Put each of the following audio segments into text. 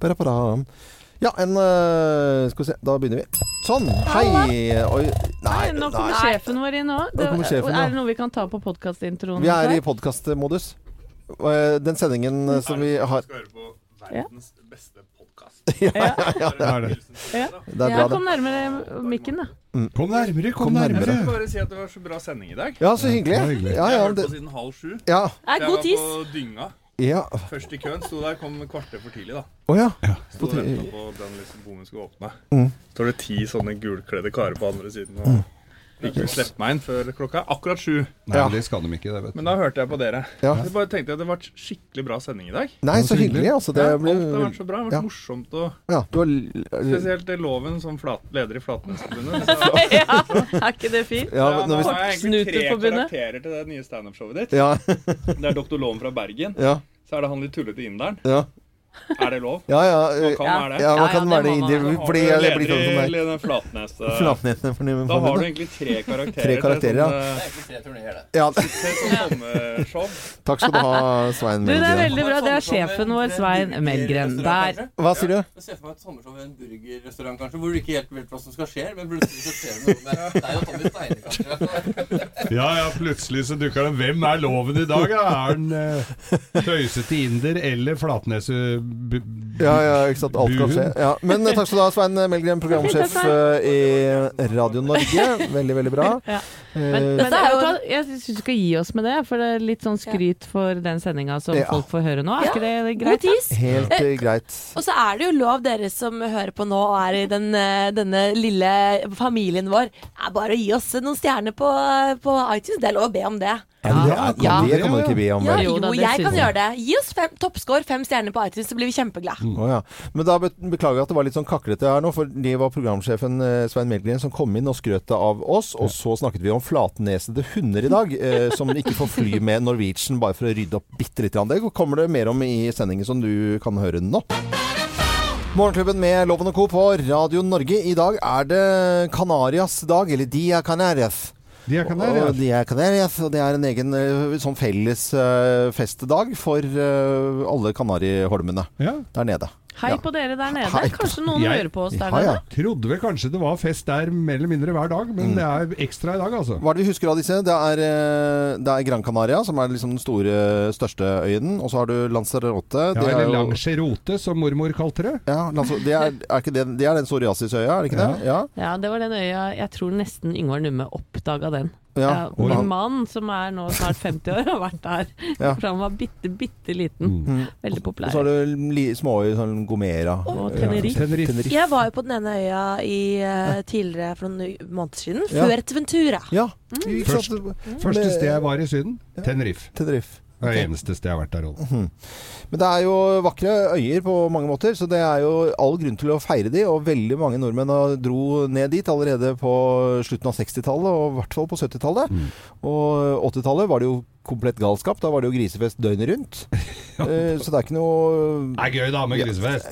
Ba-da-ba-da. Ja, en eh, Skal vi se, da begynner vi. Sånn. Hei. Oi. Nei, Nei, nå kommer nei. sjefen vår inn òg. Nå kommer sjefen, ja. Er det noe vi kan ta på podkastintroen? Vi er i podkastmodus. Eh, Den sendingen eh, som vi har skal høre på verdens beste podkast. ja. Ja. Jeg Det er ja, bra, det. Kom nærmere mikken, da. Kom nærmere, kom, Kom nærmere. nærmere. vil bare si at det var så bra sending i dag. Ja, så Ja, hyggelig. hyggelig. Ja, Jeg ja, har men hørt på det, siden halv sju. ja, Jeg Er var god tiss. på dynga ja. først i køen. Sto der, kom et kvarter for tidlig, da. Å ja. Sto og ti- venta på at den liksom bommen skulle åpne. Mm. Så står det ti sånne gulkledde karer på andre siden og ikke vil slippe meg inn før klokka er akkurat sju. Nei, Ja. det skal de ikke, det vet du. Men da hørte jeg på dere. Ja. Jeg bare tenkte at det var skikkelig bra sending i dag. Nei, så hyggelig. Altså, det Ja, ble Alt har vært så bra. Det har vært Ja. morsomt og ja, du har Spesielt det loven som flat, leder i Flatnæsforbundet. så- ja, er ikke det fint? ja, Ja, når nå vi, har jeg egentlig tre Kortsnuterforbundet. karakterer til det nye standup-showet ditt. ja, Det er Dr. Loven fra Bergen. ja, Så er det han litt tullete inderen. ja, Er det lov? ja, ja, Man eh, kan Ja. være det. ja, man Ja, ja, kan være det det må man. indre Har fordi du jeg blir sånn som leder deg. i den flatnese... Flatnetene for nye Da har du forbundet. egentlig tre karakterer. Tre karakterer, ja. til eh, Ja, sånn, eh, til sånn sommershow. takk skal du ha, Svein Du, det er Melgren. veldig bra. Det er sjefen vår, Svein Melgren. Der. Hva sier du? Jeg ser for meg et sommershow i en burgerrestaurant kanskje, hvor du ikke helt vet hva som skal skje, men plutselig så skjer det noe med deg og Tommy Steine, kanskje. Ja, ja, plutselig så dukker det Hvem er loven i dag? Ja? Er den eh, tøysete inder eller flatnese... bu- Ja, ja, ikke sant. Alt kan skje. Ja. Men eh, takk skal du ha, Svein Melgren, programsjef eh, i Radio Norge. Veldig, veldig bra. Ja. Men, Eh, men vet du hva, jeg syns vi skal gi oss med det, for det er litt sånn skryt for den sendinga som Ja. folk får høre nå. Er Ja. ikke det God greit? tis. Helt eh, greit. Og så er det jo lov, dere som hører på nå og er i den, eh, denne lille familien vår, er bare å gi oss noen stjerner på, på iTunes. Det er lov å be om det. Ja, det Ja. kan- det kan man ikke be om. Ja, vel? Jo jo, da, det jeg synes kan jeg. gjøre det. Gi oss fem, toppscore, fem stjerner på iTunes, så blir vi kjempeglade. Å ja. Men da be- beklager jeg at det var litt sånn kaklete her nå, for det var programsjefen eh, Svein Melgren som kom inn og skrøt av oss, og så snakket vi om flatnesede hunder i dag, eh, som ikke får fly med Norwegian bare for å rydde opp bitte litt. Det kommer det mer om i sendingen som du kan høre nå. Morgenklubben med Loven og Co. på Radio Norge. I dag er det Kanarias dag, eller Dia Canarias. De er Og kanarier. de er Canarias, og det er en egen eh, sånn felles eh, festdag for eh, alle Kanariholmene Ja. der nede. Hei på dere der nede. Hei på- Kanskje noen Jeg- hører på oss der Ja, ja. nede? Trodde vel kanskje det var fest der mer eller mindre hver dag, men det er ekstra i dag, altså. Hva er det vi husker av disse? Det er, eh, det er Gran Canaria, som er liksom den store, største øyen. Og så har du Lanzarote. Ja, det er eller jo- Langerote, som mormor kalte det. Ja, Lanzarote, det, er, er ikke det, det er den psoriasisøya, er det ikke det? Ja. Ja, det var den øya Jeg tror nesten Yngvar Numme oppdaga den. ja. Ja, Men min han- mann, som er nå snart 50 år, har vært der Ja. Mm. fra han var bitte, bitte Mm. liten. Veldig Og så har populær. du li- småøyer, sånn Gomera. Og Ja. Tenerife. Tenerife. Jeg var jo på den ene øya i, eh, tidligere for noen måneder siden, Ja. Fuerteventura. Ja. Ikke Mm. Først- sant? Første Med- sted jeg var i Syden, Tenerife. Tenerife. Det er det eneste sted jeg har vært der. Rolf. Men det er jo vakre øyer på mange måter, så det er jo all grunn til å feire de. Og veldig mange nordmenn har- dro ned dit allerede på slutten av 60-tallet, og i hvert fall på 70-tallet. Og 80-tallet var det jo komplett galskap. Da var det jo grisefest døgnet rundt. Eh, Så det er ikke noe Det er gøy, da, med grisefest.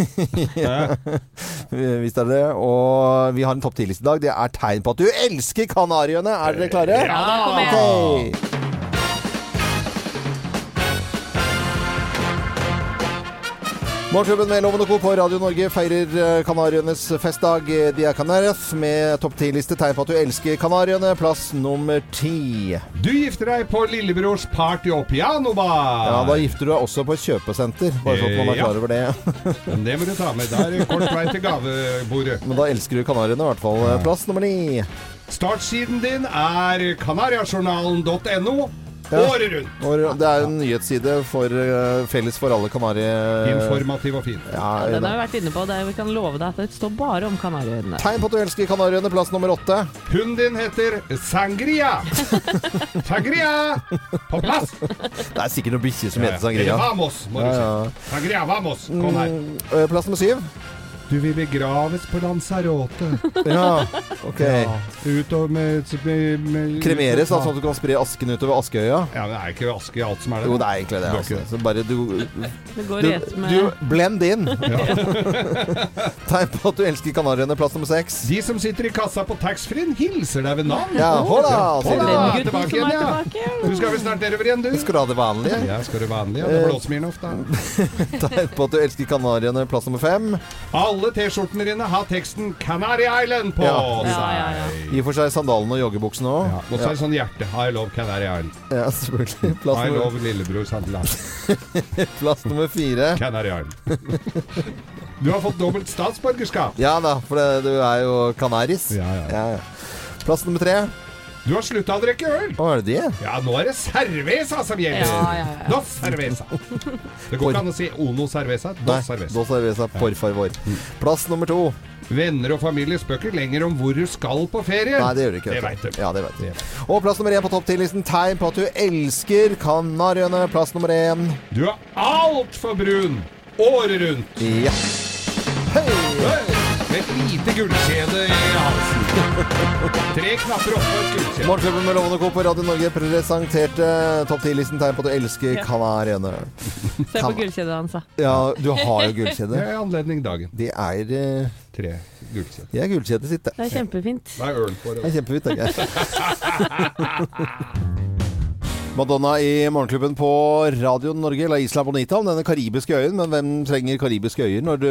eh, Hvis det er det. Og vi har en topp 10-liste i dag. Det er tegn på at du elsker Kanariøyene. Er dere klare? Ja, da kom jeg. Ok. Morgenklubben med Loven og Co. på Radio Norge feirer eh, Kanarienes festdag. eh, Dia Canarias med topp ti-liste tegn på at du elsker Kanariene. Plass nummer ti. Du gifter deg på lillebrors party og pianobar! Ja, da gifter du deg også på et kjøpesenter, bare sånn at man Eh, er ja. klar over det. Men det må du ta med. Da er det kort vei til gavebordet. Men da elsker du Kanariene, i hvert fall. Eh, Plass nummer ni. Startsiden din er kanariajournalen.no. Ja. Året rundt. Og Det er en nyhetsside for, eh, felles for alle Kanariøyer. Informativ og fin. Ja, Ja, den har Øyne. vi vært inne på. Det vi kan love deg at det står bare om Kanariøyene. Tegn på at du elsker Kanariøyene. Plass nummer åtte. Hunden din heter Sangria. Sangria! På plass! Det er sikkert noen bikkjer som heter Eller Sangria. Vamos, må du Ja, si. ja. Sangria, vamos. Kom her. Eh, Plass Mm, nummer syv. Du vil begraves på Lanzarote. Ja, ok. Ja. Ut og med, med, med Kremeres, da, sånn at du kan spre asken utover Askøya? Ja, men det er ikke aske i alt som er det. Jo, det er egentlig det. Altså. Så bare du, Det går du, rett med du Blend in! Tegn på at du elsker Kanariøyene, plass nummer seks. De som sitter i kassa på taxfree-en, hilser deg ved navn. Ja, altså. hola! sier de. Hola! den gutten tilbake som er igjen, ja. tilbake. Du skal vel snart nedover igjen, du? Skal du ha det Eh. vanlige? Ja, skal du vanlig? Ja, det er Blåsmirnoff, da. Tegn på at du elsker Kanariøyene, plass nummer fem. Alle T-skjortene dine har teksten 'Canary Island' på Ja. seg. Ja, ja, I og for seg sandalene og joggebuksene òg. Ja, Og så er det sånn hjerte. I love Canary Island. Ja, selvfølgelig. Plass I nummer, love lillebror Sandeland. plass nummer fire. Canary Island. Du har fått dobbelt statsborgerskap. Ja da, for det, du er jo kanaris. Ja, ja. Ja, ja. Plass nummer tre. Du har slutta å drikke øl. Hva er det de? Ja, nå er det cerveza som Ja, gjelder. ja, ja, ja. Dos cerveza. Det går ikke an å si Ono cerveza. Nei, Dos cerveza. Mm. Dos Cerveza, por favor. Plass nummer to. Venner og familie spør ikke lenger om hvor du skal på ferie. Nei, det gjør du ikke. Det vet vet du. Ja, det vet Det du. Og plass nummer én på topp ti-listen. Tegn på at du elsker Kanariøyene. Plass nummer én. Du er altfor brun året rundt. Ja. Hei! Med et lite gullkjede i halsen. Tre knapper oppe og et gullkjede. Morgenklubben med Lovende Co. på Radio Norge presenterte topp ti-listen tegn på at du elsker Kanariøyene. Se på gullkjedet hans, da. Ja, du har jo Det gullkjede. er anledning dagen. Det er eh, Tre gullkjede. Det er gullkjedet sitt, det. Det er kjempefint. Det er øl for Det er kjempefint, tenker jeg. Madonna i Morgenklubben på Radio Norge, La Isla Bonita, om denne karibiske øyen. Men hvem trenger karibiske øyer når du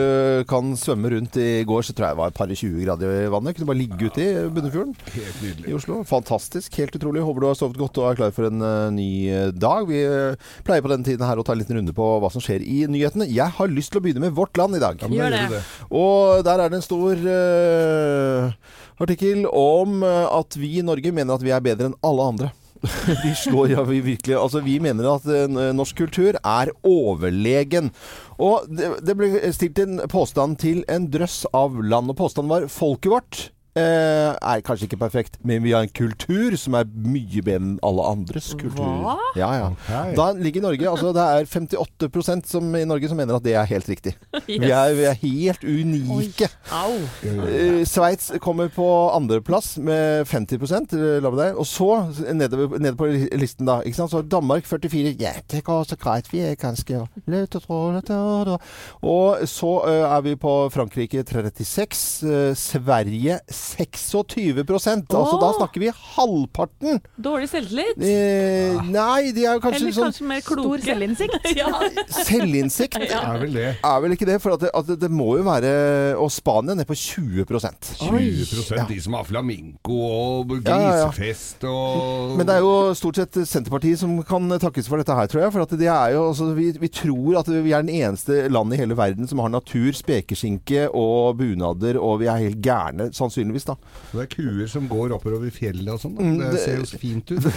kan svømme rundt? I går så tror jeg det var et par og 20 grader i vannet. Kunne bare ligge ute i Bunnefjorden Helt nydelig. i Oslo. Fantastisk. Helt utrolig. Håper du har sovet godt og er klar for en eh, ny eh, dag. Vi eh, pleier på denne tiden her å ta en liten runde på hva som skjer i nyhetene. Jeg har lyst til å begynne med Vårt Land i dag. Ja, men da Gjør gjør det. du det. Og der er det en stor eh, artikkel om eh, at vi i Norge mener at vi er bedre enn alle andre. vi slår ja, vi virkelig Altså, vi mener at eh, n- norsk kultur er overlegen. Og det, det ble stilt en påstand til en drøss av land, og påstanden var 'folket vårt'. eh, er kanskje ikke perfekt, men vi har en kultur som er mye bedre enn alle andres kultur. Hva? Ja, ja. Ok. Da ligger Norge altså Det er 58 som, i Norge som mener at det er helt riktig. Vi, er, vi er helt unike. Au. Eh, Sveits kommer på andreplass med 50 eh, la meg det. Og så nedover, nede på li- listen, da. Ikke sant? Så Danmark 44. Ja, det går så greit. Vi er ganske lett og trålete. og da- Og så eh, er vi på Frankrike 36. eh, Sverige 26 Altså da Åh. snakker vi halvparten. Dårlig selvtillit? Eh, nei, de er jo kanskje Ah. Eller sånn kanskje mer kloke? selvinnsikt. Ja. Selvinnsikt Det er vel det. er vel ikke det. For at det, at det, det må jo være Og Spania ned på 20 20 de som har flamingo og Ja, ja, ja. grisefest og Men det er jo stort sett Senterpartiet som kan takkes for dette her, tror jeg. For at det er jo, altså, vi, vi tror at vi er den eneste landet i hele verden som har natur, spekeskinke og bunader, og vi er helt gærne, sannsynligvis, da. Det er kuer som går oppover fjellet og sånn. da. Mm, Det det- ser jo fint ut.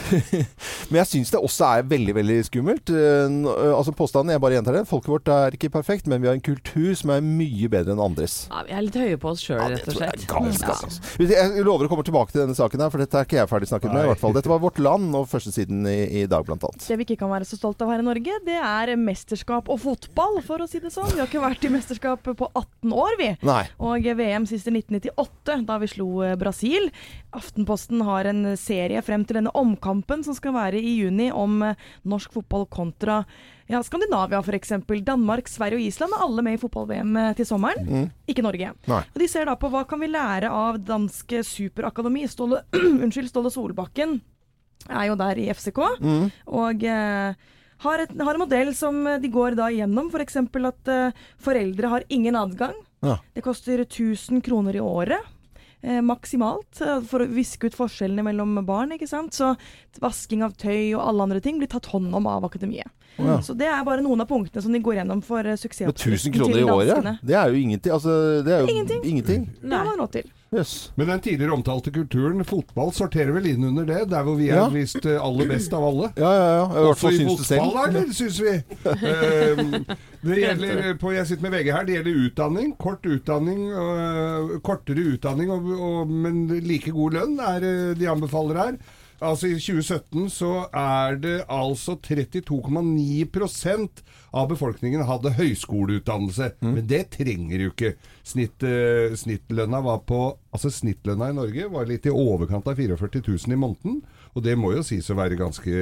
Men jeg syns det også er veldig, veldig skummelt. Eh, n- eh, altså Påstanden, jeg bare gjentar det. Folket vårt er ikke perfekt, men vi har en kultur som er mye bedre enn andres. Ja, vi er litt høye på oss sjøl, rett og slett. Galskap, altså. Jeg lover å komme tilbake til denne saken her, for dette er ikke jeg ferdig snakket med. i Nei. hvert fall. Dette var Vårt Land og førstesiden i, i dag, blant annet. Det vi ikke kan være så stolt av her i Norge, det er mesterskap og fotball, for å si det sånn. Vi har ikke vært i mesterskap på 18 år, vi. Nei. Og VM sist i 1998, da vi slo eh, Brasil. Aftenposten har en serie frem til denne omkampen som skal være i juni, om eh, norsk fotball kontra ja, Skandinavia f.eks. Danmark, Sverige og Island er alle med i fotball-VM til sommeren. Ikke Norge. Nei. Og De ser da på hva kan vi lære av danske superakademi. Ståle, unnskyld, Ståle Solbakken er jo der i FCK. Mm. Og eh, har, et, har en modell som eh, de går da igjennom. F.eks. at eh, foreldre har ingen adgang. Ja. Det koster 1000 kroner i året. Eh, maksimalt, eh, for å viske ut forskjellene mellom barn. ikke sant? Så vasking av tøy og alle andre ting blir tatt hånd om av akademiet. Ja. Så det er bare noen av punktene som de går gjennom for eh, Men 1000 suksessoppskriften til kroner i danskene. året, det er jo ingenting. Altså, det er jo Ingenting. ingenting. Det har man råd til. Jøss. Men den tidligere omtalte kulturen, fotball, sorterer vel inn under det? Der hvor vi er Ja. visst eh, aller best av alle? Ja, ja, ja. I hvert Også fall i syns du selv. fotball, eller syns vi? Ehm, det gjelder eh, på, Jeg sitter med VG her. Det gjelder utdanning. Kort utdanning. øh, kortere utdanning, og, og, men like god lønn er øh, de anbefaler her. Altså I 2017 så er det altså 32,9 av befolkningen hadde høyskoleutdannelse. Mm. Men det trenger du ikke. Snitt, eh, snittlønna var på Altså snittlønna i Norge var litt i overkant av 44 000 i måneden. Og det må jo sies å være ganske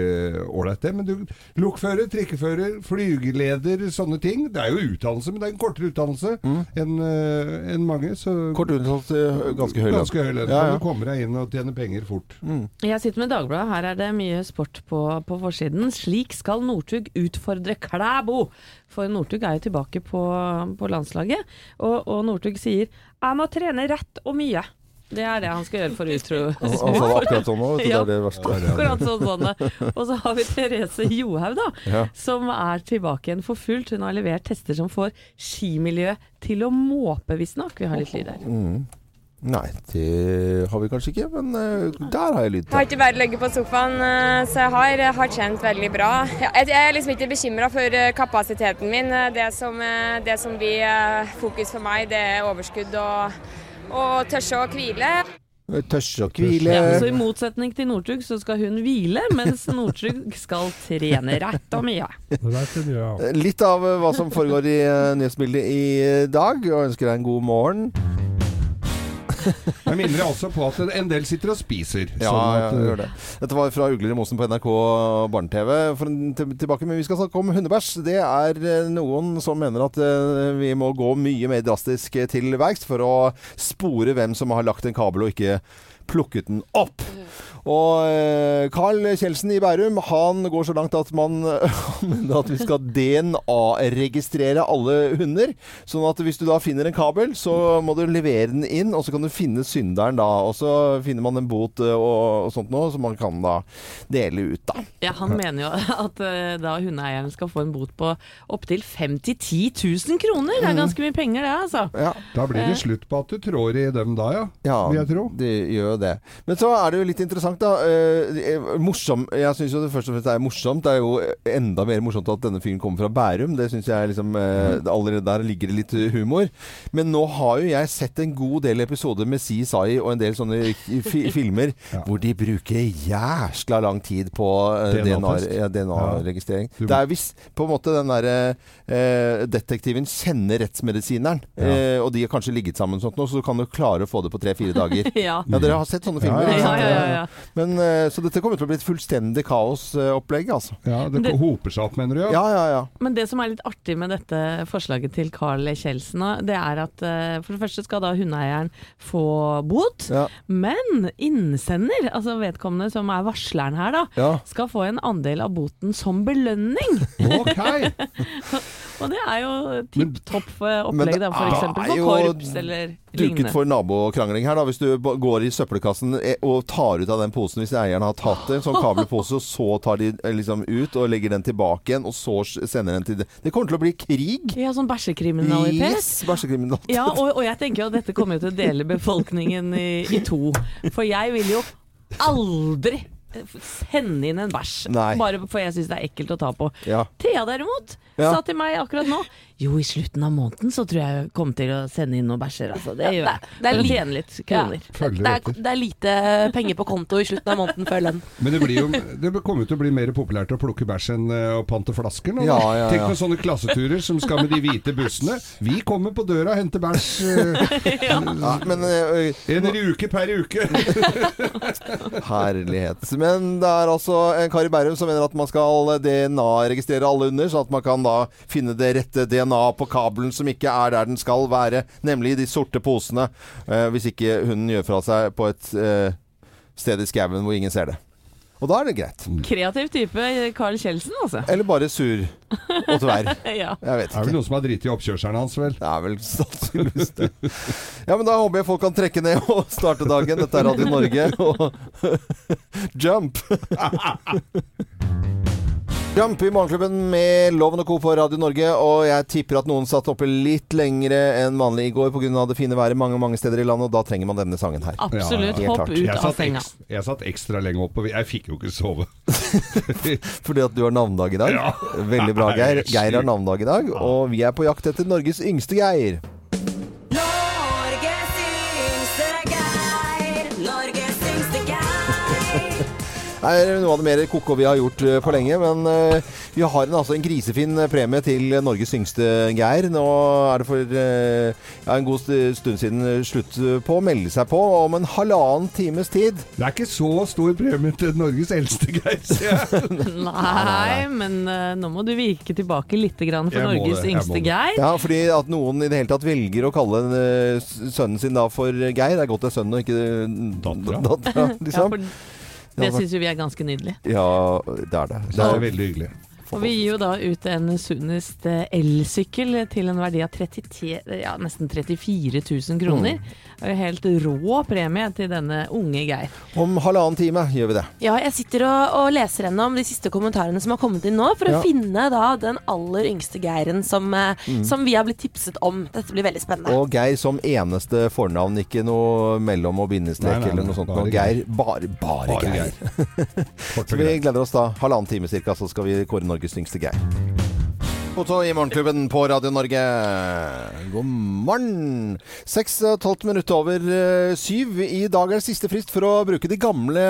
ålreit, det. Men du, lokfører, trikkefører, flygeleder, sånne ting. Det er jo utdannelse, men det er en kortere utdannelse Mm. enn eh, enn mange. Så Kort unntatt eh, ganske høy lønn. ganske høy lønn. Ja, Mm. Kan ja. Du kommer deg inn og tjener penger fort. Jeg sitter med Dagbladet, her er det mye sport på, på forsiden. Slik skal Northug utfordre Klæbo! For Northug er jo tilbake på, på landslaget. Og, og Northug sier 'jeg må trene rett og mye'. Det er det han skal gjøre for å utro. Han sa det akkurat sånn nå, vet du. Det Ja. er det verste. Akkurat sånn sånn. Og så har vi Therese Johaug, da. Ja. Som er tilbake igjen for fullt. Hun har levert tester som får skimiljøet til å måpe, visstnok. Vi har litt lyd her. Mm. Nei, det har vi kanskje ikke, men eh, der har jeg lyd. Jeg har ikke bare ligget på sofaen, eh, så jeg har, har trent veldig bra. Ja, Jeg jeg er liksom ikke bekymra for eh, kapasiteten min. Eh, Det som, eh, det som blir eh, fokus for meg, det er overskudd og, og tørre å hvile. Tørste og Ja, hvile. så I motsetning til Northug så skal hun hvile, mens Northug skal trene rett og mye. Litt av eh, hva som foregår i eh, nyhetsbildet i eh, dag, og ønsker deg en god morgen. Jeg minner deg også på at en del sitter og spiser. Ja, sånn ja, at, gjør det. eh, Dette var fra Ugler i mosen på NRK Barne-TV. For en til- tilbake, Men vi skal snakke om hundebæsj. Det er eh, noen som mener at eh, vi må gå mye mer drastisk eh, til verks for å spore hvem som har lagt en kabel og ikke plukket den opp. Og eh, Carl Kjeldsen i Bærum han går så langt at man han mener at vi skal DNA-registrere alle hunder. Sånn at hvis du da finner en kabel, så må du levere den inn, og så kan du finne synderen da. Og så finner man en bot eh, og, og sånt noe, som man kan da dele ut, da. Ja, Han mener jo at eh, da hundeeieren skal få en bot på opptil 50 000-10 000 kroner. Det Mm. er ganske mye penger det, altså. Ja. Da blir det slutt på at du trår i dem da, ja. Ja, Vil jeg tro. det gjør jo det. Men så er det jo litt interessant, da. Eh, eh, morsom. Jeg syns jo det først og fremst er morsomt. Det er jo enda mer morsomt at denne fyren kommer fra Bærum. Det syns jeg liksom eh, Mm. det- Allerede der ligger det litt eh, humor. Men nå har jo jeg sett en god del episoder med CSI og en del sånne fi filmer hvor de bruker jæskla lang tid på eh, DNA-test. DNA-registrering. DNA registrering Du- Det er hvis på en måte den derre eh, detektiven kjenner rettsmedisineren, eh, og de har kanskje ligget sammen sånt nå, så du kan jo klare å få det på tre-fire dager. Ja. Ja, altså, dere har sett sånne filmer? Ja, ikke Ja, sant? ja, ja, ja. Men, eh, så dette kommer til å bli et fullstendig kaosopplegg, altså. Ja, det, Det- hoper seg opp, mener du? Ja, ja, ja. Men det som er litt artig med dette forslaget til Carl E. Kjeldsen, da, det er at eh, for det første skal da hundeeieren få bot, Ja. men innsender, altså vedkommende som er varsleren her, da, Ja. skal få en andel av boten som belønning. Ok! Og det er jo tipp topp eh, Men det opplegg, da, for er eksempel jo for korps eller Duket lignende. for nabokrangling her, da. Hvis du ba- går i søppelkassen eh, og tar ut av den posen hvis eieren har tatt en sånn kabelpose, og så tar de eh, liksom ut og legger den tilbake igjen, og så s- sender den til det. Det kommer til å bli krig! Ja, sånn bæsjekriminalitet. Yes, Bæsjekriminalitet. Ja, og, og jeg tenker jo at dette kommer jo til å dele befolkningen i, i to. For jeg vil jo aldri eh, sende inn en bæsj. Nei. Bare for jeg syns det er ekkelt å ta på. Ja. Thea derimot Ja. sa til meg akkurat nå Jo, i slutten av måneden så tror jeg jeg kommer til å sende inn noen bæsjer, altså. Det gjør jeg. det er For å litt- tjene litt kroner. Følger det, etter. er, det er lite penger på konto i slutten av måneden før lønn. Men det, blir jo, det kommer jo til å bli mer populært å plukke bæsj enn eh, å pante flasker nå. da. Ja, ja, Tenk ja. noen sånne klasseturer som skal med de hvite bussene. Vi kommer på døra og henter bæsj eh, Ja, men eh, en uke per uke. Herlighet. Men det er altså en kar i Bærum som mener at man skal DNA-registrere alle hunder, sånn at man kan da finne det rette DNA på kabelen som ikke er der den skal være, nemlig i de sorte posene. eh, hvis ikke hunden gjør fra seg på et eh, sted i skauen hvor ingen ser det. Og da er det greit. Kreativ type Carl Kjeldsen, altså. Eller bare sur og tverr. Ja. Jeg vet Det er ikke. vel noen som har driti i oppkjørselen hans, vel. Det er vel sannsynligvis det. Ja, men da håper jeg folk kan trekke ned og starte dagen. Dette er Radio Norge og Jump! Jump i Morgenklubben med Loven og Co. på Radio Norge, og jeg tipper at noen satt oppe litt lengre enn vanlig i går pga. det fine været mange mange steder i landet, og da trenger man denne sangen her. Ja, ja, Absolutt. helt Hopp klart. ut Jeg av satt, senga. eks- jeg satt ekstra lenge oppe. Jeg fikk jo ikke sove. Fordi at du har navnedag i dag. Ja. Veldig bra, Geir. Nei, sykt. Geir har navnedag i dag, og vi er på jakt etter Norges yngste Geir. Norges yngste Geir, Norges yngste Geir. Det er noe av det mer koko vi har gjort eh, på lenge, men eh, Vi har en, altså en grisefin premie til Norges yngste Geir. Nå er det for eh, ja, en god st- stund siden eh, slutt på å melde seg på. Om en halvannen times tid Det er ikke så stor premie til Norges eldste, Geir. sier jeg. Nei, men eh, nå må du virke tilbake litt grann for Jeg må Norges det, jeg må yngste det. Geir. Ja, fordi at noen i det hele tatt velger å kalle eh, s- sønnen sin da for Geir. Det er godt det er sønnen og ikke eh, Dattera. dattera, Ja, liksom. for det syns jo vi er ganske nydelig. Ja, det er det. Det er veldig hyggelig. Og vi gir jo da ut en Sunnest eh, elsykkel til en verdi av 33, ja, nesten 34 000 Mm. kroner. Det er jo Helt rå premie til denne unge Geir. Om halvannen time gjør vi det. Ja, jeg sitter og, og leser gjennom de siste kommentarene som har kommet inn nå, for Ja. å finne da den aller yngste Geiren som, eh, som vi har blitt tipset om. Dette blir veldig spennende. Mm. Og Geir som eneste fornavn, ikke noe mellom- og bindestrek Nei, nei, nei, eller noe sånt. bare Bare Geir. Bare, bare, Bare Geir. Geir. Så Kort og vi greit. gleder oss da. Halvannen time cirka, så skal vi kåre Norges yngste Geir. Foto i Morgenklubben på Radio Norge. God morgen! Seks og et halvt minutt over eh, syv. I dag er det siste frist for å bruke de gamle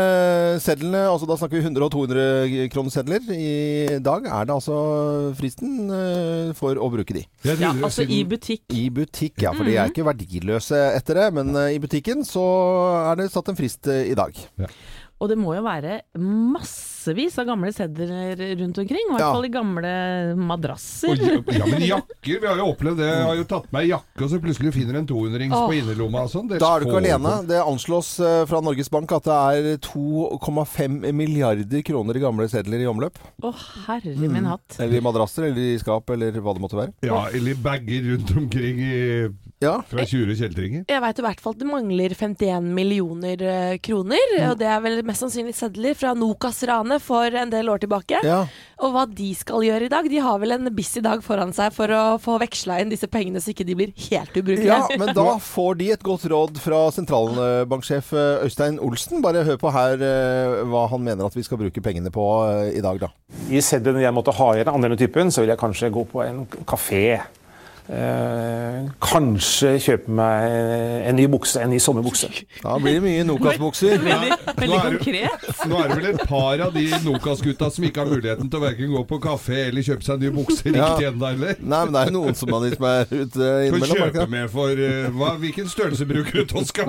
sedlene. Altså, da snakker vi 100- og 200-kronesedler. I dag er det altså fristen eh, for å bruke de. Jeg Ja, trodde altså i siden- butikk. I butikk, ja. For de er ikke verdiløse etter det. Men eh, i butikken så er det satt en frist eh, i dag. Og det må jo være massevis av gamle sedler rundt omkring. I hvert Ja. fall i gamle madrasser. Oi, Ja, men jakker, vi har jo opplevd det. Jeg har jo tatt meg jakke, og så plutselig finner en 200-rings på innerlomma og sånn. Det Da er du ikke får- alene. Det anslås eh, fra Norges Bank at det er 2,5 milliarder kroner i gamle sedler i omløp. Å, herre Mm. min hatt. Eller i madrasser, eller i skap, eller hva det måtte være. Ja, eller bager rundt omkring i, Ja. Eh, fra 20 kjeltringer. Jeg veit i hvert fall at det mangler 51 millioner eh, kroner. Mm. Og det er vel mest sannsynlig sedler fra Nokas-ranet for en del år tilbake. ja. Og hva de skal gjøre i dag. De har vel en busy dag foran seg for å få veksla inn disse pengene, så ikke de blir helt ubrukelige. Ja, men da får de et godt råd fra sentralbanksjef eh, Øystein Olsen. Bare hør på her eh, hva han mener at vi skal bruke pengene på eh, i dag, da. I sedlene jeg måtte ha igjen, andre enn typen, så vil jeg kanskje gå på en kafé. Eh, kanskje kjøpe meg en ny bukse, en ny sommerbukse. Da blir det mye Nokas-bukser. Veldig, veldig Nå er det- konkret. Nå er det vel et par av de Nokas-gutta som ikke har muligheten til å verken gå på kafé eller kjøpe seg nye bukser Ja. riktig ennå, eller? Nei, men det er jo noen som man liksom er ute Kan innimellom. er det kjøpe ikke det? med for eh, hva, Hvilken størrelse bruker du, Toska?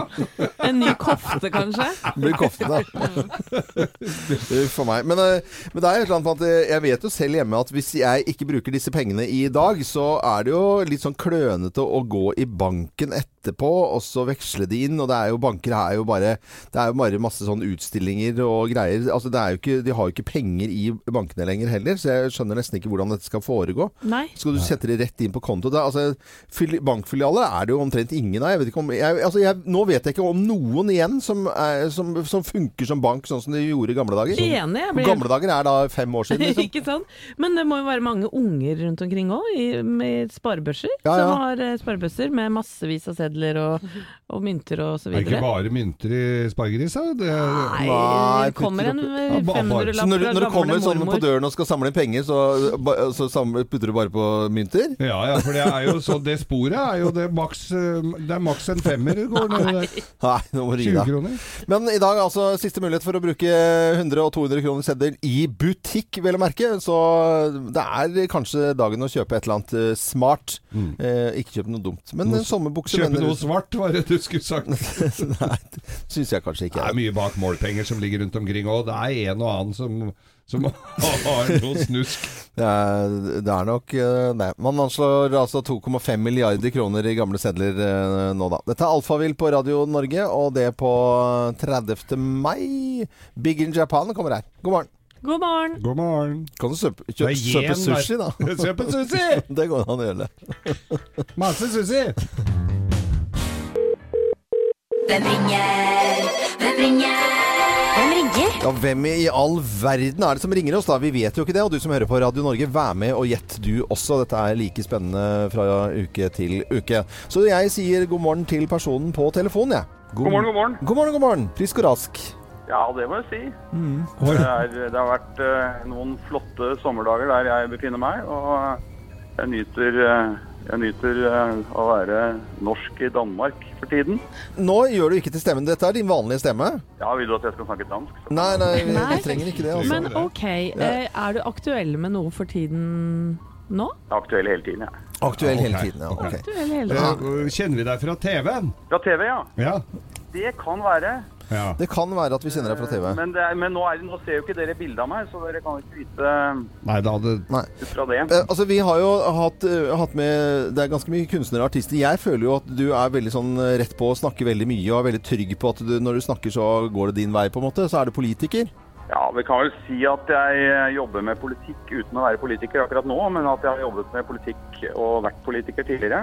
En ny kofte, kanskje. Blir kofte, da. Uff a meg. Men, eh, men det er et eller annet med at eh, jeg vet jo selv hjemme at hvis jeg ikke bruker disse pengene i dag, så er det jo litt sånn klønete å gå i banken etterpå og så veksle de inn. Og det er jo banker er jo bare Det er jo bare masse sånn utstillinger og greier. Altså det er jo ikke De har jo ikke penger i bankene lenger heller, så jeg skjønner nesten ikke hvordan dette skal foregå. Nei. Skal du sette det rett inn på konto? Det er, altså, fili- bankfilialer er det jo omtrent ingen av. Jeg vet ikke om, jeg, altså, jeg, nå vet jeg ikke om noen igjen som, er, som, som funker som bank, sånn som de gjorde i gamle dager. Enig. Jeg Og blir Gamle dager er da fem år siden. Liksom. Ikke sant? Men det må jo være mange unger rundt omkring òg, med sparebørser. Ja, ja. Som har eh, sparebøsser med massevis av sedler og, og mynter og så Det er ikke videre. bare mynter i spargeris, da. Det er, Nei, Nei, det kommer en eh, Ja, bare- 500-lapp Så når, du- fra når du gamle kommer sånn på mormor. døren og skal samle inn penger, så, ba- så samler, putter du bare på mynter? ja, ja, for det er jo så Det sporet er jo det maks eh, Det er maks en femmer går ned der. Nei, nå må du gi 20 deg. kroner. Men i dag er altså siste mulighet for å bruke 100 og 200 kroner seddel i butikk, vel å merke. Så det er kanskje dagen å kjøpe et eller annet eh, smart. Eh, ikke kjøpe noe dumt. Men en sommerbukse Mm. Kjøpe mener noe svart, var det du skulle sagt. Nei, det syns jeg kanskje Det ikke. er mye bak målpenger som ligger rundt omkring òg. Det er en og annen som, som har noe snusk. Det er, det er nok eh, Nei. Man anslår altså 2,5 milliarder kroner i gamle sedler eh, nå, da. Dette er Alfavill på Radio Norge, og det på 30. mai. Big in Japan kommer her. God morgen. God morgen! God morgen. Kan du søpe, Det kjøpe, er yen søpe sushi, da? der. Kjøpe sushi! Det går an å gjøre. det Masse sushi! Hvem ringer? Hvem ringer? Hvem ringer? Ja, Hvem i all verden er det som ringer oss? da? Vi vet jo ikke det. Og du som hører på Radio Norge, vær med og gjett du også. Dette er like spennende fra uke til uke. Så jeg sier god morgen til personen på telefonen, jeg. God morgen, god morgen. God morgen, god morgen. Frisk og rask. Ja, det må jeg si. Mm. Det, er, det har vært eh, noen flotte sommerdager der jeg befinner meg, og jeg nyter eh, Jeg nyter eh, å være norsk i Danmark for tiden. Nå gjør du ikke til stemmen. Dette er din vanlige stemme. Ja, vil du at jeg skal snakke dansk? Nei, nei, vi, Nei. vi trenger ikke det. Altså. Men OK, eh, er du aktuell med noe for tiden nå? Jeg er aktuell hele tiden, jeg. Aktuell hele tiden, ja. ok. Aktuell hele Eh, tiden. Kjenner vi deg fra TV-en? Fra TV, ja. Ja. Det kan være. Det kan være at vi kjenner deg fra TV. Men, det er, men nå, er, nå ser jo ikke dere bildet av meg, så dere kan ikke vite eh, Nei, da hadde Nei. ut fra det. Eh, altså, vi har jo hatt, eh, hatt med Det er ganske mye kunstnere og artister. Jeg føler jo at du er veldig sånn eh, rett på å snakke veldig mye, og er veldig trygg på at du, når du snakker, så går det din vei, på en måte. Så er du politiker. Ja, vi kan vel si at jeg eh, jobber med politikk uten å være politiker akkurat nå, men at jeg har jobbet med politikk og vært politiker tidligere.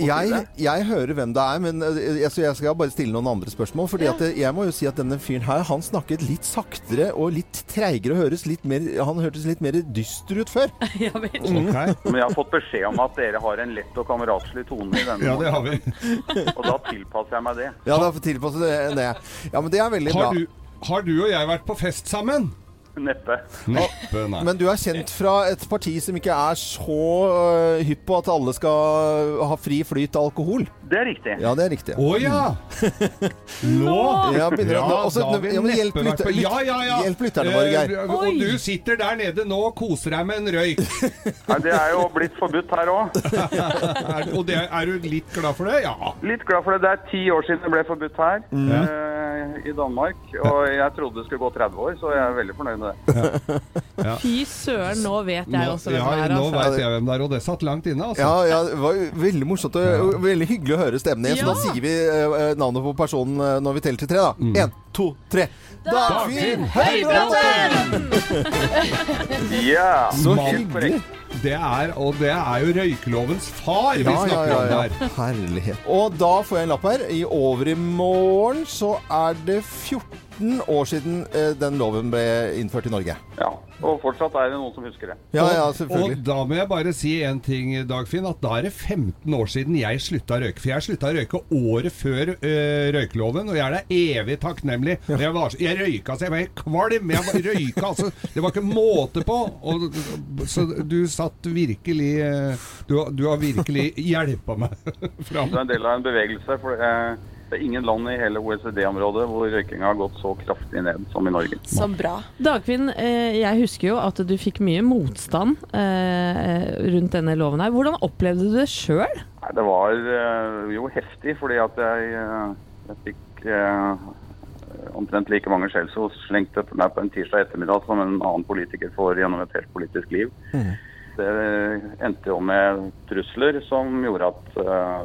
Jeg, jeg hører hvem det er, men eh, jeg, så jeg skal bare stille noen andre spørsmål. Fordi at eh, jeg må jo si at denne fyren her, han snakket litt saktere og litt treigere og høres litt mer Han hørtes litt mer dyster ut før. Men jeg har fått beskjed om at dere har en lett og kameratslig tone i denne. Ja, det har vi. Og da tilpasser jeg meg det. Ja, da tilpasset det det. Ja, men det er veldig bra. Har du, har du og jeg vært på fest sammen? Neppe. Neppe, nei. Men du er kjent fra et parti som ikke er så øh, hypp på at alle skal ha fri flyt av alkohol. Det er riktig. Ja, det er riktig. Å ja! Nå! Ja, begynner å- nå- også- da har vi ja, men hjelp neppe vært lytter- på- ja, ja, ja. hjelp lytterne våre, Geir. Eh, Og du sitter der nede nå og koser deg med en røyk. Nei, det er jo blitt forbudt her òg. Er, og det, er du litt glad for det? Ja. Litt glad for det. Det er ti år siden det ble forbudt her eh, i Danmark. Og jeg trodde det skulle gå 30 år, så jeg er veldig fornøyd med det. Fy søren, nå vet jeg Nå, også hvem ja, det er. nå vet Altså. jeg hvem det er, og det satt langt inne, altså. Ja, ja, det var jo veldig morsomt og, og veldig hyggelig å høre stemmen din. Så Ja. da sier vi øh, navnet på personen øh, når vi teller til tre, da. Én, to, tre. Dagfinn Høybråten! Ja, Så helt hyggelig. Det er, og det er jo røykelovens far vi Ja, ja, snakker ja, om der. ja. Herlighet. Og da får jeg en lapp her. I overmorgen så er det 14 år siden øh, den loven ble innført i Norge. Ja, Og fortsatt er det noen som husker det. Ja, ja, Og- selvfølgelig. Og da må jeg bare si en ting, Dagfinn, at da er det 15 år siden jeg slutta å røyke. For jeg slutta å røyke året før øh, røykeloven, og jeg er deg evig takknemlig. Og Jeg, var, så- jeg røyka så jeg var helt kvalm. Jeg var, røyka, altså, det var ikke måte på. Og, så du satt virkelig øh, Du, har- du har virkelig hjelpa meg fram. Det er en del av en bevegelse. for eh, det er ingen land i hele OECD-området hvor røykinga har gått så kraftig ned som i Norge. Så bra. Dagfinn, eh, jeg husker jo at du fikk mye motstand eh, rundt denne loven her. Hvordan opplevde du det sjøl? Nei, det var eh, jo heftig, fordi at jeg, eh, jeg fikk eh, omtrent like mange skjellsord slengt etter meg på en tirsdag ettermiddag som en annen politiker får gjennom et helt politisk liv. Det eh, endte jo med trusler som gjorde at eh,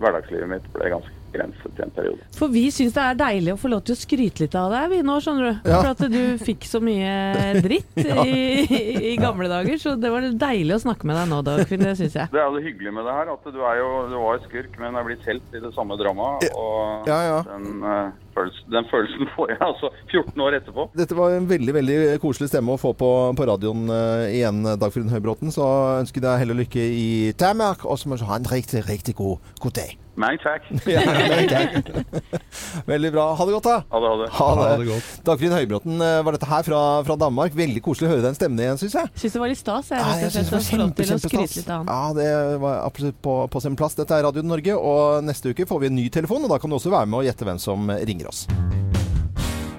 hverdagslivet mitt ble ganske begrenset i en periode. For vi syns det er deilig å få lov til å skryte litt av deg vi nå, skjønner du. Ja. For at du fikk så mye dritt Ja. i, i gamle dager. Så det var deilig å snakke med deg nå, Dagfinn. Det syns jeg. Det er jo det hyggelige med det her, at du, er jo, du var jo skurk, men er blitt helt i det samme dramaet. Og Ja, ja. Den, eh, følelsen, den følelsen får jeg altså 14 år etterpå. Dette var en veldig veldig koselig stemme å få på, på radioen eh, igjen, Dagfrid Høybråten. Så ønsker jeg deg hell og lykke i Danmark, og så må du ha en riktig, riktig god, god dag. Mange takk. Ja, mange takk. Veldig bra. Ha det godt, da. Ha det, ha det. Ha det godt. Dagfrid Høybråten eh, var dette her fra, fra Danmark. Veldig koselig å høre den stemmen igjen, syns jeg. Syns det var litt stas. Jeg, Ja, rett og jeg synes det var slett, å få lov kjempe, til å kjempestas. skryte litt av han. Ja, det var absolutt på, på sin plass. Dette er Radio Norge, og neste uke får vi en ny telefon, og da kan du også være med og gjette hvem som ringer oss.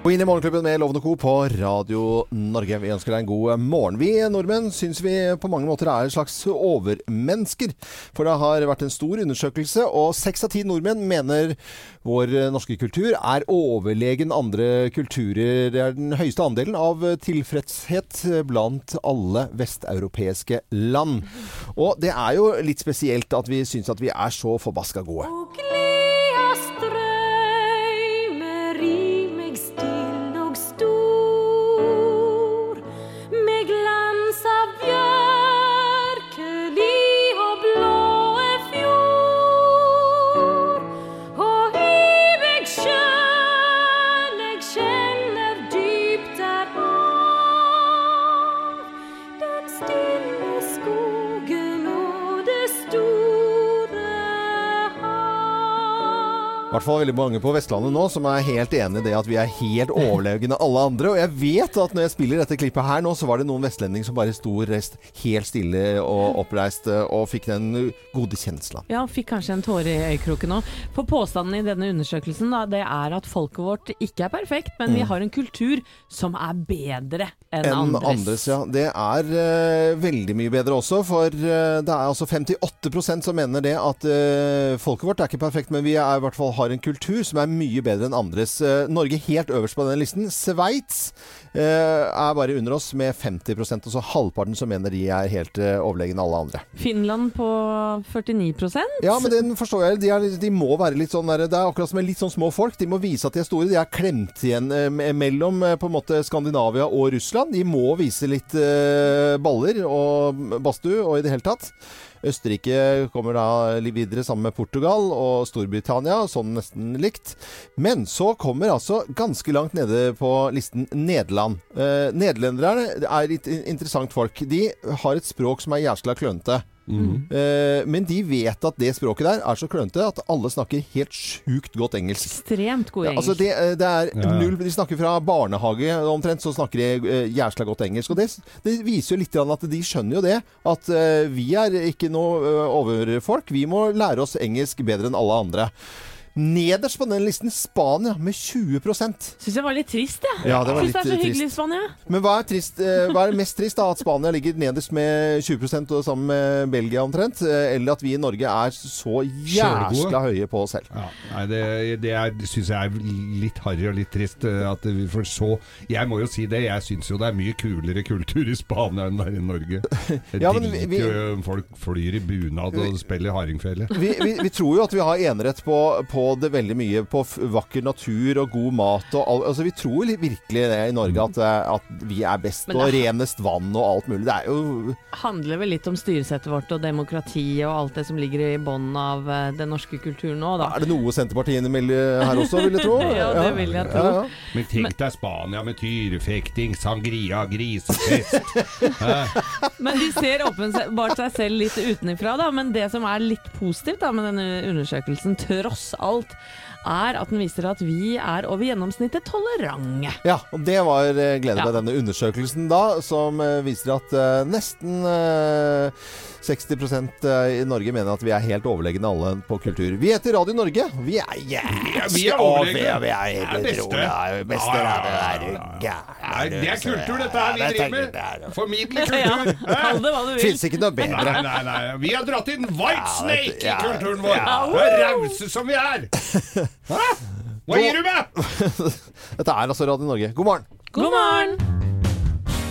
Og inn i Morgenklubben med Lovende Co. på Radio Norge. Vi ønsker deg en god morgen. Vi nordmenn syns vi på mange måter er et slags overmennesker. For det har vært en stor undersøkelse, og seks av ti nordmenn mener vår norske kultur er overlegen andre kulturer. Det er den høyeste andelen av tilfredshet blant alle vesteuropeiske land. Og det er jo litt spesielt at vi syns at vi er så forbaska gode. Glia strøyme, riv meg still og stor. Med glans av bjørkeli og blåe fjord. Og i meg sjøl jeg kjenner dypt derav. Den stille skogen og det store hav. I hvert fall veldig mange på Vestlandet nå som er helt enig i det at vi er helt overlegne alle andre. Og jeg vet at når jeg spiller dette klippet her nå, så var det noen vestlending som bare sto rest helt stille og oppreist eh, og fikk den gode kjensla. Ja, han fikk kanskje en tåre i øyekroken òg. For påstanden i denne undersøkelsen da, det er at folket vårt ikke er perfekt, men Mm. vi har en kultur som er bedre enn Enn andres. andres. ja. Det er eh, veldig mye bedre også, for eh, det er altså 58 som mener det at eh, folket vårt er ikke perfekt, men vi er, i hvert fall har en kultur som er mye bedre enn andres. Eh, Norge helt øverst på den listen. Sveits eh, er bare under oss med 50 og så halvparten som mener de er helt eh, overlegne alle andre. Finland på 49 Ja, men den forstår jeg. De, er, de må være litt sånn der, Det er akkurat som med litt sånn små folk. De må vise at de er store. De er klemt igjen eh, me- mellom eh, på en måte Skandinavia og Russland. De må vise litt eh, baller og badstue og i det hele tatt. Østerrike kommer da litt videre sammen med Portugal og Storbritannia, sånn nesten likt. Men så kommer altså ganske langt nede på listen Nederland. Eh, nederlenderne er litt interessant folk. De har et språk som er jæskla klønete. Mm. Eh, men de vet at det språket der er så klønete at alle snakker helt sjukt godt engelsk. Ekstremt god Ja, engelsk. altså det, eh, det er Ja, ja. null De snakker fra barnehage omtrent, så snakker de eh, jævla godt engelsk. Og det, det viser jo litt grann at de skjønner jo det. At eh, vi er ikke noe eh, overfolk. Vi må lære oss engelsk bedre enn alle andre. Nederst på den listen Spania med 20 Syns jeg var litt trist, jeg. Ja, det var Syns det litt, er eh, så hyggelig i trist. Spania. Men hva er, trist, eh, hva er det mest trist? da? At Spania ligger nederst med 20 og sammen med Belgia omtrent? eh, Eller at vi i Norge er så jæskla høye på oss selv? Nei, det, det er, synes jeg er litt harry og litt trist. eh, At vi får så Jeg må jo si det, jeg syns jo det er mye kulere kultur i Spania enn det er i Norge. Jeg Ja, men vi- driter jo i om folk flyr i bunad og spiller hardingfele. Vi, vi, vi tror jo at vi har enerett på, på det veldig mye, på f- vakker natur og god mat og all, altså Vi tror li- virkelig det i Norge, at, eh, at vi er best Men og det- renest vann og alt mulig. Det er jo handler vel litt om styresettet vårt og demokratiet og alt det som ligger i bånn av eh, den norske kulturen nå, da. Er det noe Senterpartiet innimellom her også, vil jeg tro? Ja, det vil jeg tro. Ja, ja. Men tenk deg Spania med tyrefekting, sangria, grisefest. Hæ? Men de ser åpenbart seg selv litt utenifra, da. Men det som er litt positivt da, med denne undersøkelsen, tross alt, er at den viser at vi er over gjennomsnittet tolerante. Ja, og det var eh, glede Ja. ved denne undersøkelsen da, som eh, viser at eh, nesten eh, 60 i Norge mener at vi er helt overlegne alle på kultur. Vi heter Radio Norge. Vi er Ja, jævlig vi er overlegne. Vi er, vi er helt Det er beste. utrolig. Ja, vi er beste. Ja, Ja, ja, ja, det er Nei, gærne. det er kultur, dette her vi Ja, dette er driver kultur, med. ja. Formidle kultur. Ja, kall det hva du vil. Finnes ikke noe bedre. Nei, nei, nei. Vi har dratt inn White Ja, Snake ja, i kulturen vår. ja. Vi er rause som vi er. Hæ? Hva gir du meg? Dette er altså Radio Norge. God morgen. God morgen!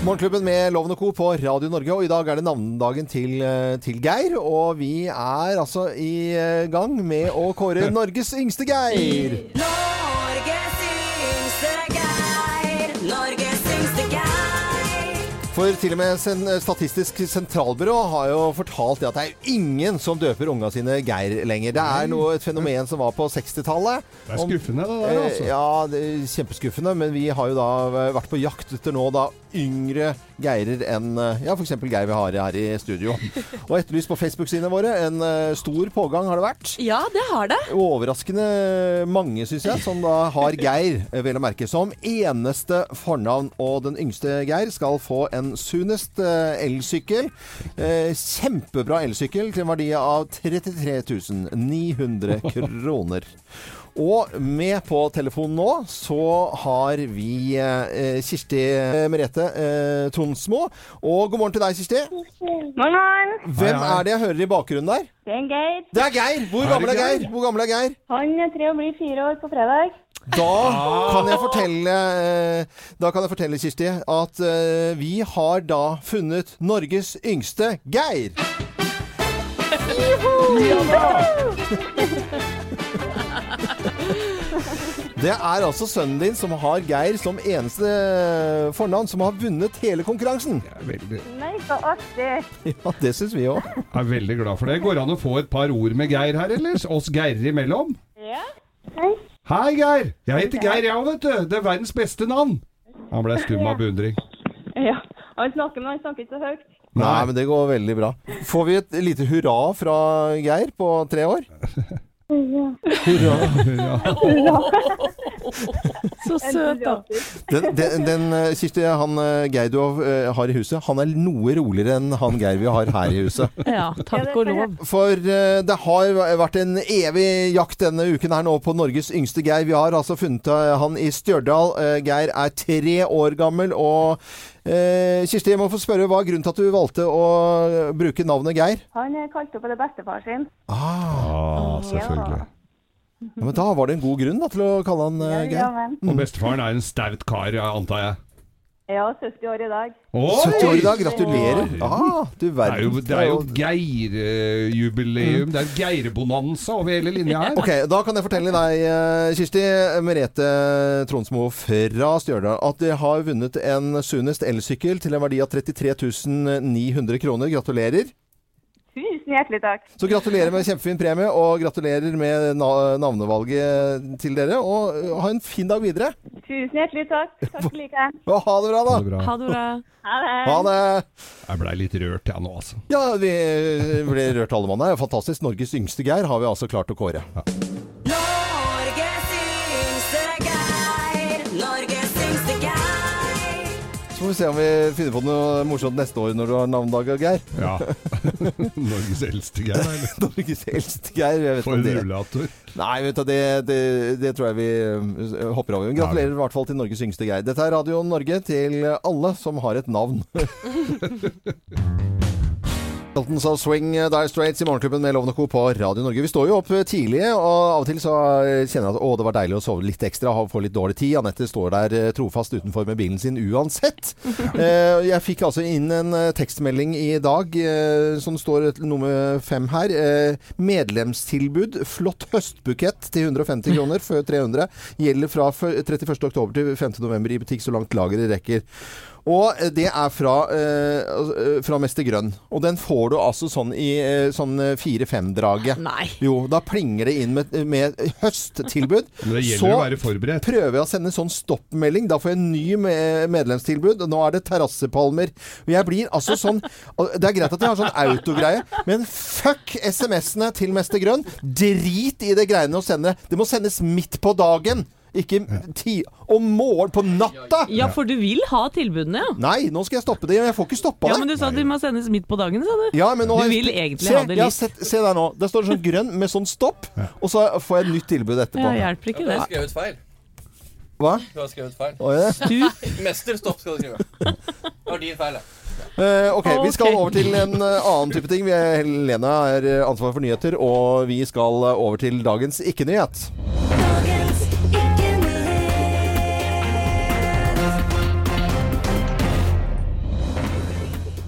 Morgenklubben med Loven og Co. på Radio Norge, og i dag er det navnedagen til, eh, til Geir. Og vi er altså i eh, gang med å kåre Norges yngste Geir. Norges yngste Geir. Norges yngste Geir. For til og med sen Statistisk sentralbyrå har jo fortalt det at det er ingen som døper unga sine Geir lenger. Det er noe, et fenomen som var på 60-tallet. Det er Om- skuffende, det der, Eh, altså. Ja, det er kjempeskuffende. Men vi har jo da eh, vært på jakt etter nå da yngre Geirer enn eh, ja, f.eks. Geir vi har her i studio. Og etterlyst på Facebook-sidene våre. En eh, stor pågang har det vært. Ja, det har det. Overraskende mange, syns jeg, som da har Geir, eh, vel å merke, som eneste fornavn. Og den yngste Geir skal få en Sunest eh, elsykkel. Eh, Kjempebra elsykkel til en verdi av 33 900 kroner. Og med på telefonen nå så har vi eh, Kirsti eh, Merete eh, Tronsmo. Og god morgen til deg, Kirsti. Morgen, morgen. Hvem er det jeg hører i bakgrunnen der? Det er en Geir. Det er Geir! Hvor Er det gammel er Geir? Geir? Hvor gammel er Geir? Han er tre og blir fire år på fredag. Da kan jeg fortelle, eh, da kan jeg fortelle Kirsti, at eh, vi har da funnet Norges yngste Geir. Det er altså sønnen din som har Geir som eneste fornavn, som har vunnet hele konkurransen. Nei, så artig. Ja, det syns vi òg. Jeg er veldig glad for det. Går det an å få et par ord med Geir her, eller? Oss Geirer imellom? Ja. Hei, Geir. Jeg heter Geir, jeg òg, vet du. Det er verdens beste navn. Han ble stum av beundring. ja. Han snakker, men han snakker ikke så høyt. Nei, men det går veldig bra. Får vi et lite hurra fra Geir på tre år? Så søt, da. Den, den, den eh, Kirsti, han eh, Geir du eh, har i huset, han er noe roligere enn han Geir vi har her i huset. Ja, takk og lov. For eh, det har vært en evig jakt denne uken her nå på Norges yngste Geir. Vi har altså funnet eh, han i Stjørdal. Eh, Geir er tre år gammel, og eh, Kirsti, jeg må få spørre, hva er grunnen til at du valgte å bruke navnet Geir? Han eh, kalte opp det bestefar sin. Ah, selvfølgelig. Ja, men da var det en god grunn da, til å kalle han eh, Geir. Ja, men. Og bestefaren er en staut kar, antar jeg. Ja, 70 år i dag. 70 år i dag, gratulerer. Ah, du Det er verden. jo, det er jo Geir-jubileum. Det er Geir-bonanza over hele linja her. Ok, Da kan jeg fortelle deg, eh, Kirsti Merete Tronsmo fra Stjørdal, at dere har vunnet en Sunest elsykkel til en verdi av 33 900 kroner. Gratulerer. Tusen hjertelig takk. Så gratulerer med kjempefin premie, og gratulerer med na navnevalget til dere. Og eh, ha en fin dag videre. Tusen hjertelig takk. Takk like. Og ha det bra, da. Ha det bra. Ha Ha det det. Ha det. Jeg blei litt rørt, jeg nå, altså. Ja, vi ble rørt alle mann. Det er jo fantastisk. Norges yngste Geir har vi altså klart å kåre. Norges yngste Geir. Norges yngste Geir. Så får vi se om vi finner på noe morsomt neste år når du har navnedag, Geir. Ja. Norges eldste Geir. eller? Norges eldste Geir. Jeg vet ikke For om en det- rullator. Nei, vet du, det, det, det tror jeg vi eh, hopper over. Gratulerer i hvert fall til Norges yngste Geir. Dette er Radio Norge til alle som har et navn. Elton sa swing eh, Dire Straits i Morgenklubben med Lovende Co. på Radio Norge. Vi står jo opp eh, tidlig, og av og til så eh, kjenner jeg at å, det var deilig å sove litt ekstra, ha- få litt dårlig tid. Anette står der eh, trofast utenfor med bilen sin uansett. Eh, Jeg fikk altså inn en eh, tekstmelding i dag eh, som står et- nummer fem her. Eh, Medlemstilbud. Flott høstbukett til 150 kroner før 300. Gjelder fra fø- 31. oktober til 5. november i butikk så langt lageret rekker. Og eh, det er fra, eh, altså, eh, fra Mester Grønn. Og den får du altså sånn i eh, sånn eh, 4-5-draget. Nei. Jo, da plinger det inn med, med høsttilbud. Men det gjelder Så å være forberedt. prøver jeg å sende sånn stoppmelding. Da får jeg en ny me- medlemstilbud. Nå er det terrassepalmer. Og jeg blir altså sånn og Det er greit at jeg har sånn autogreie, men fuck SMS-ene til Mester Grønn. Drit i det greiene å sende. Det må sendes midt på dagen. Ikke ti om morgenen. På natta! Ja, for du vil ha tilbudene, ja. Nei, nå skal jeg stoppe det. Jeg får ikke stoppa Ja, det. men du sa de må sendes midt på dagen, sa du. Ja, men nå har du jeg- vil egentlig se, ha det jeg har litt. sett, se der nå. Der står det sånn grønn med sånn stopp, og så får jeg et nytt tilbud etterpå. Ja, hjelper ikke Du har det. skrevet feil. Hva? Du har skrevet feil. Å, ja. Mester stopp skal du skrive. Det var din feil, det. Eh, ok, vi skal Ok. over til en eh, annen type ting. Vi er, Helena er eh, ansvaret for nyheter, og vi skal eh, over til dagens ikke-nyhet.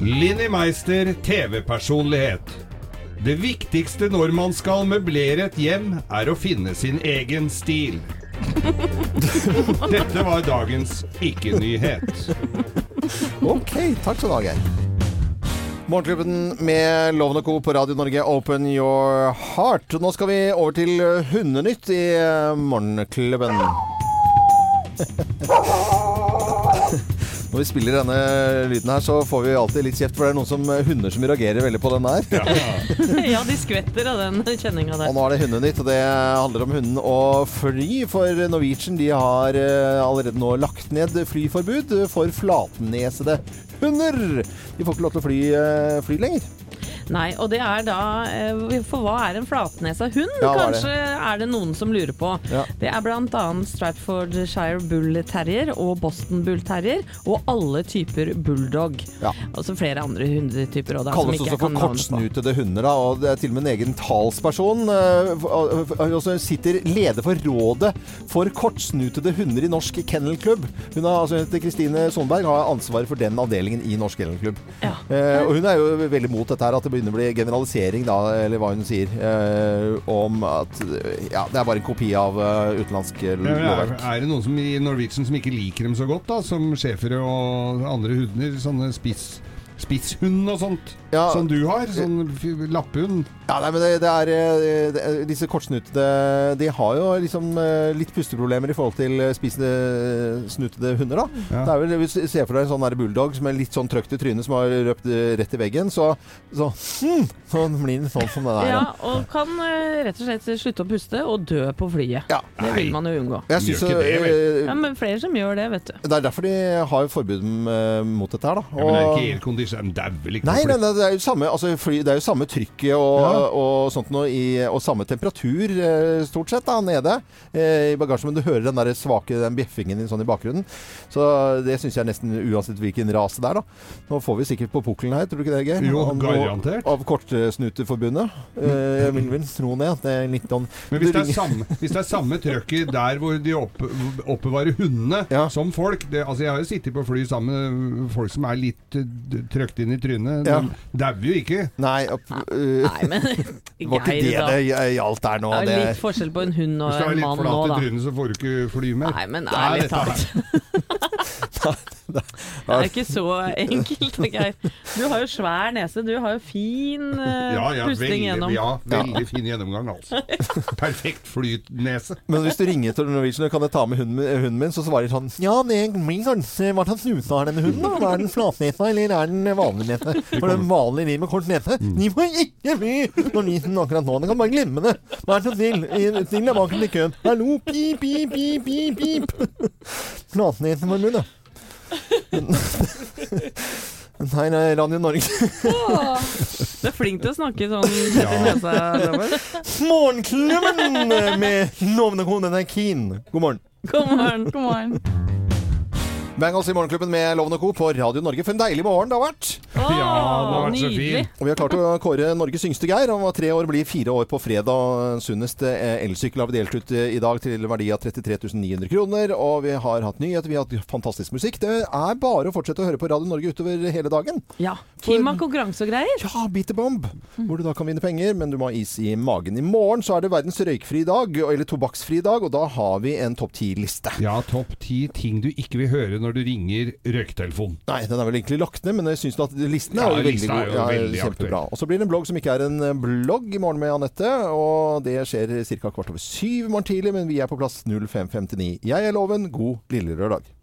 Linni Meister, TV-personlighet. Det viktigste når man skal møblere et hjem, er å finne sin egen stil. Dette var dagens ikke-nyhet. Ok, takk skal du ha, Geir. Morgenklubben med Loven og Co. på Radio Norge, Open Your Heart. Nå skal vi over til eh, Hundenytt i eh, Morgenklubben. Når vi spiller denne lyden her, så får vi alltid litt kjeft, for det er noen som, eh, hunder som reagerer veldig på den her. Ja, de skvetter av den kjenninga Og der. nå er det Hundenytt, og det handler om hunden og fly. For Norwegian de har eh, allerede nå lagt ned flyforbud for flatnesede hunder. De får ikke lov til å fly, eh, fly lenger. Nei, og det er da eh, For hva er en flatnesa hund? Ja, hva er det? Kanskje er det noen som lurer på. Ja. Det er bl.a. Stratfordshire Bull Terrier og Boston Bull Terrier og alle typer bulldog. Og så flere andre hundetyper òg, da. som Kalles ikke også jeg for kan navnet på. kortsnutede hunder, da, og det er til og med en egen talsperson. eh, for- eh, Og så sitter leder for Rådet for kortsnutede hunder i Norsk Kennelklubb. Hun har, altså, hun heter Kristine Sonberg har ansvaret for den avdelingen i Norsk Kennelklubb. Eh, og hun er jo veldig mot dette her, at det begynner å bli generalisering, da, eller hva hun sier, eh, om at eh, ja, det er bare en kopi av eh, utenlandsk eh, Men Er, lovverk. er Mm, det noen som i Norwegian som ikke liker dem så godt, da? Som schæfere og andre hunder? Sånne spiss, spisshund og sånt som du har? Sånn f- lapphund? Ja, nei, men det, det er eh, det, er- Disse kortsnutede De har jo liksom eh, litt pusteproblemer i forhold til eh, spisende snutede hunder, da. Det er vel, Hvis du ser for deg en sånn der bulldog som er litt sånn trøkt i trynet, som har røpt eh, rett i veggen, så, så, mm, så blir den sånn som den er. Ja, og kan eh, rett og slett slutte å puste og dø på flyet. Det vil man jo unngå. Jeg synes, Gjør ikke det, vel? eh, ja, men flere som gjør det, vet du. Det er derfor de har forbud eh, mot dette her, da. Ja, men det er Og- ikke aircondition, det er vel ikke Nei, noe nei, fly- nei, det er jo samme, altså, fly, det er jo samme trykket og, og sånt noe i, og samme temperatur eh, stort sett da, nede eh, i bagasjen, men du hører den der svake den bjeffingen din sånn i bakgrunnen. Så det syns jeg nesten uansett hvilken ras det er, da. Nå får vi sikkert på pukkelen her, tror du ikke det, Geir? Jo, Om- garantert. Av Kortsnuteforbundet. Eh, jeg vil vel tro det. at Det er litt sånn Men hvis det er ringer- samme, hvis det er samme trøkket der hvor de opp, oppbevarer hundene som folk det, altså Jeg har jo sittet på fly sammen med folk som er litt eh, trøkt inn i trynet. Ja. De dauer jo ikke. Nei, men Det var ikke det Geir, da. det gjaldt der nå. Det er det- litt forskjell på en hund og Hvis du er en litt mann nå, flat i da. trynet, så får du ikke fly mer. Nei, men Det er ærlig dette her. talt. Det er ikke så enkelt, Geir. Du har jo svær nese, du har jo fin eh, Ja, ja, veldig, pusting gjennom. ja, veldig fin gjennomgang, altså. Perfekt flytnese. Men hvis du ringer til Norwegian og kan jeg ta med hunden, min- hunden min, så svarer de sånn Ja, det blir kanskje Hva slags nuse har denne hunden? da? Er den flatnesa, eller er den vanlig nese? For den vanlige de med kort nese, de får ikke fly Norwegian akkurat nå. Den kan bare glemme det. Vær så snill. I- Still deg bakerst i køen. Hallo, pip, pip, pip, pip, pip. Flatneseforbundet. Nei, nei, Radio Norge. Åh, Du er flink til å snakke sånn tett i Ja. nesa, Robert. Morgenklubben med lovende kone, det er Keen. God morgen. God morgen. God morgen. Bangles i Morgenklubben med Loven og Co. på Radio Norge. For en deilig morgen det har vært! Ja, det har vært så nydelig. fin. Og vi har klart å kåre Norges yngste Geir. Han var tre år, blir fire år på fredag. Sunnest eh, elsykkel har vi delt ut eh, i dag til verdi av 33 900 kroner. Og vi har hatt nyheter, vi har hatt fantastisk musikk. Det er bare å fortsette å høre på Radio Norge utover hele dagen. Ja. Kim har konkurranse og greier. Ja, Beat the Bomb, hvor du da kan vinne penger, men du må ha is i magen. I morgen så er det verdens røykfri dag, eller tobakksfri dag, og da har vi en topp ti-liste. Ja, topp ti ting du ikke vil høre når du ringer røyktelefon. Nei, den er vel egentlig lagt ned, men jeg syns at listen er Ja, jo veldig lista er god. jo Ja, veldig kjempebra. Og så blir det en blogg som ikke er en eh, blogg i morgen med Anette, og det skjer ca. kvart over syv i morgen tidlig, men vi er på plass 05.59. Jeg er Loven, god lille rød dag.